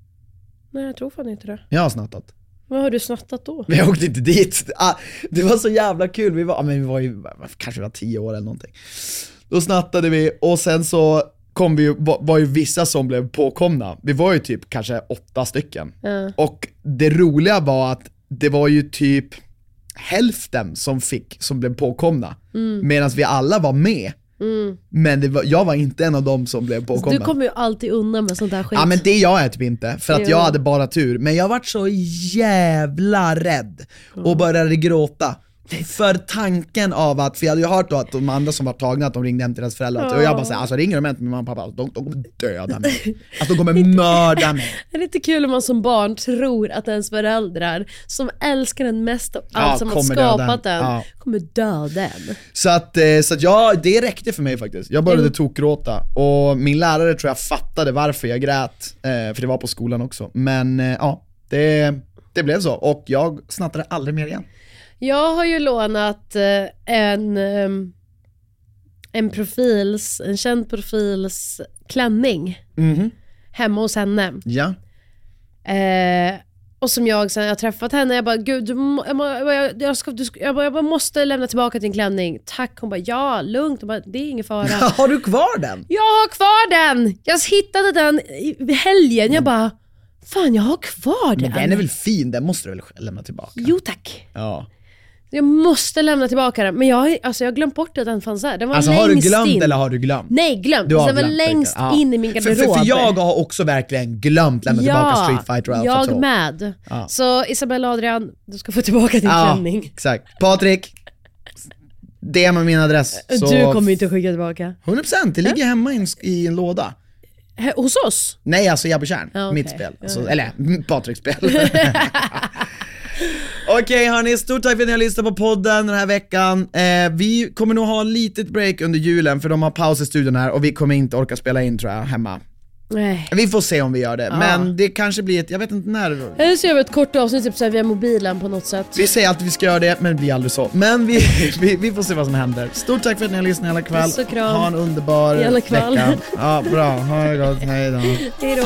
A: nej jag tror fan inte det.
B: Jag har snattat.
A: Vad har du snattat då?
B: Men jag åkte inte dit. Ah, Det var så jävla kul, vi var, ja, men vi var ju, kanske vi var tio år eller någonting. Då snattade vi och sen så kom vi, ju- var var ju vissa som blev påkomna. Vi var ju typ kanske åtta stycken. Och det roliga var att det var ju typ hälften som fick, som blev påkomna. Medan vi alla var med. Men det var, jag var inte en av dem som blev påkomna.
A: Alltså, Du kommer ju alltid undan med sånt där skit.
B: Ja men det jag är typ inte, för att
A: Jo.
B: jag hade bara tur. Men jag vart så jävla rädd och började gråta. För tanken av att, för jag hade ju hört då att de andra som var tagna, att de ringde hem till deras föräldrar. Och jag bara såhär, alltså ringer de hem till min mamma och pappa, alltså, de, de kommer döda mig. Alltså de kommer mörda mig.
A: Det är lite kul om man som barn tror att ens föräldrar, som älskar den mest av allt,
B: Ja,
A: som har
B: kommer döda
A: skapat
B: den.
A: den,
B: Ja.
A: kommer döda den.
B: Så att, eh, så att jag, det räckte för mig faktiskt. Jag började tokgråta och min lärare tror jag fattade varför jag grät, eh, för det var på skolan också. Men eh, ja, det, det blev så. Och jag snattade aldrig mer igen.
A: Jag har ju lånat eh, en, eh, en profils, en känd profils
B: Mhm.
A: klänning hemma hos henne.
B: Ja.
A: Eh, Och som jag, sen jag har träffat henne, jag bara gud, du, må- jag, bara, jag, bara, jag, jag, ska, du, ska- jag, bara, jag bara måste lämna tillbaka din klänning. Tack, hon bara ja, lugnt. Hon bara, det är ingen fara.
B: Har du kvar den?
A: jag har kvar den! Jag hittade den i helgen, jag bara, fan jag har kvar den.
B: Men den är väl fin, den måste du väl lämna tillbaka?
A: Jo tack.
B: Ja.
A: Jag måste lämna tillbaka den, men jag har alltså, jag har glömt bort att den fanns där. Den var
B: Alltså
A: längst
B: har du glömt
A: in.
B: eller har du glömt?
A: Nej, glömt.
B: Du har
A: den var
B: glömt,
A: längst
B: verkligen. Ja.
A: in i min garderob.
B: För, för, för jag har också verkligen glömt lämna tillbaka Street Fighter och Alpha
A: jag
B: Troll.
A: med.
B: Ja.
A: Så Isabella och Adrian, du ska få tillbaka din
B: Ja,
A: klänning.
B: exakt. Patrik, det med min adress. Så
A: Du kommer ju inte skicka tillbaka.
B: 100% det ligger hemma i en, i en låda.
A: He- Hos oss?
B: Nej, alltså Ebba Tjärn.
A: Ja, okej.
B: Mitt spel. Alltså, eller mm, Patriks spel. Okej hörni, stort tack för att ni har lyssnat på podden den här veckan. Eh, vi kommer nog ha litet break under julen för de har paus i studion här och vi kommer inte orka spela in tror jag, hemma.
A: Nej.
B: Vi får se om vi gör det, men det kanske blir ett, jag vet inte när.
A: Eller så gör vi ett kort avsnitt typ såhär via mobilen på något sätt.
B: Vi säger alltid att vi ska göra det, men det blir aldrig så. Men vi, vi, vi får se vad som händer. Stort tack för att ni har lyssnat hela kväll.
A: Puss och kram.
B: Ha en underbar
A: Hela kväll.
B: vecka. Ja, bra. Ha det gott. Hej då.
A: Hejdå.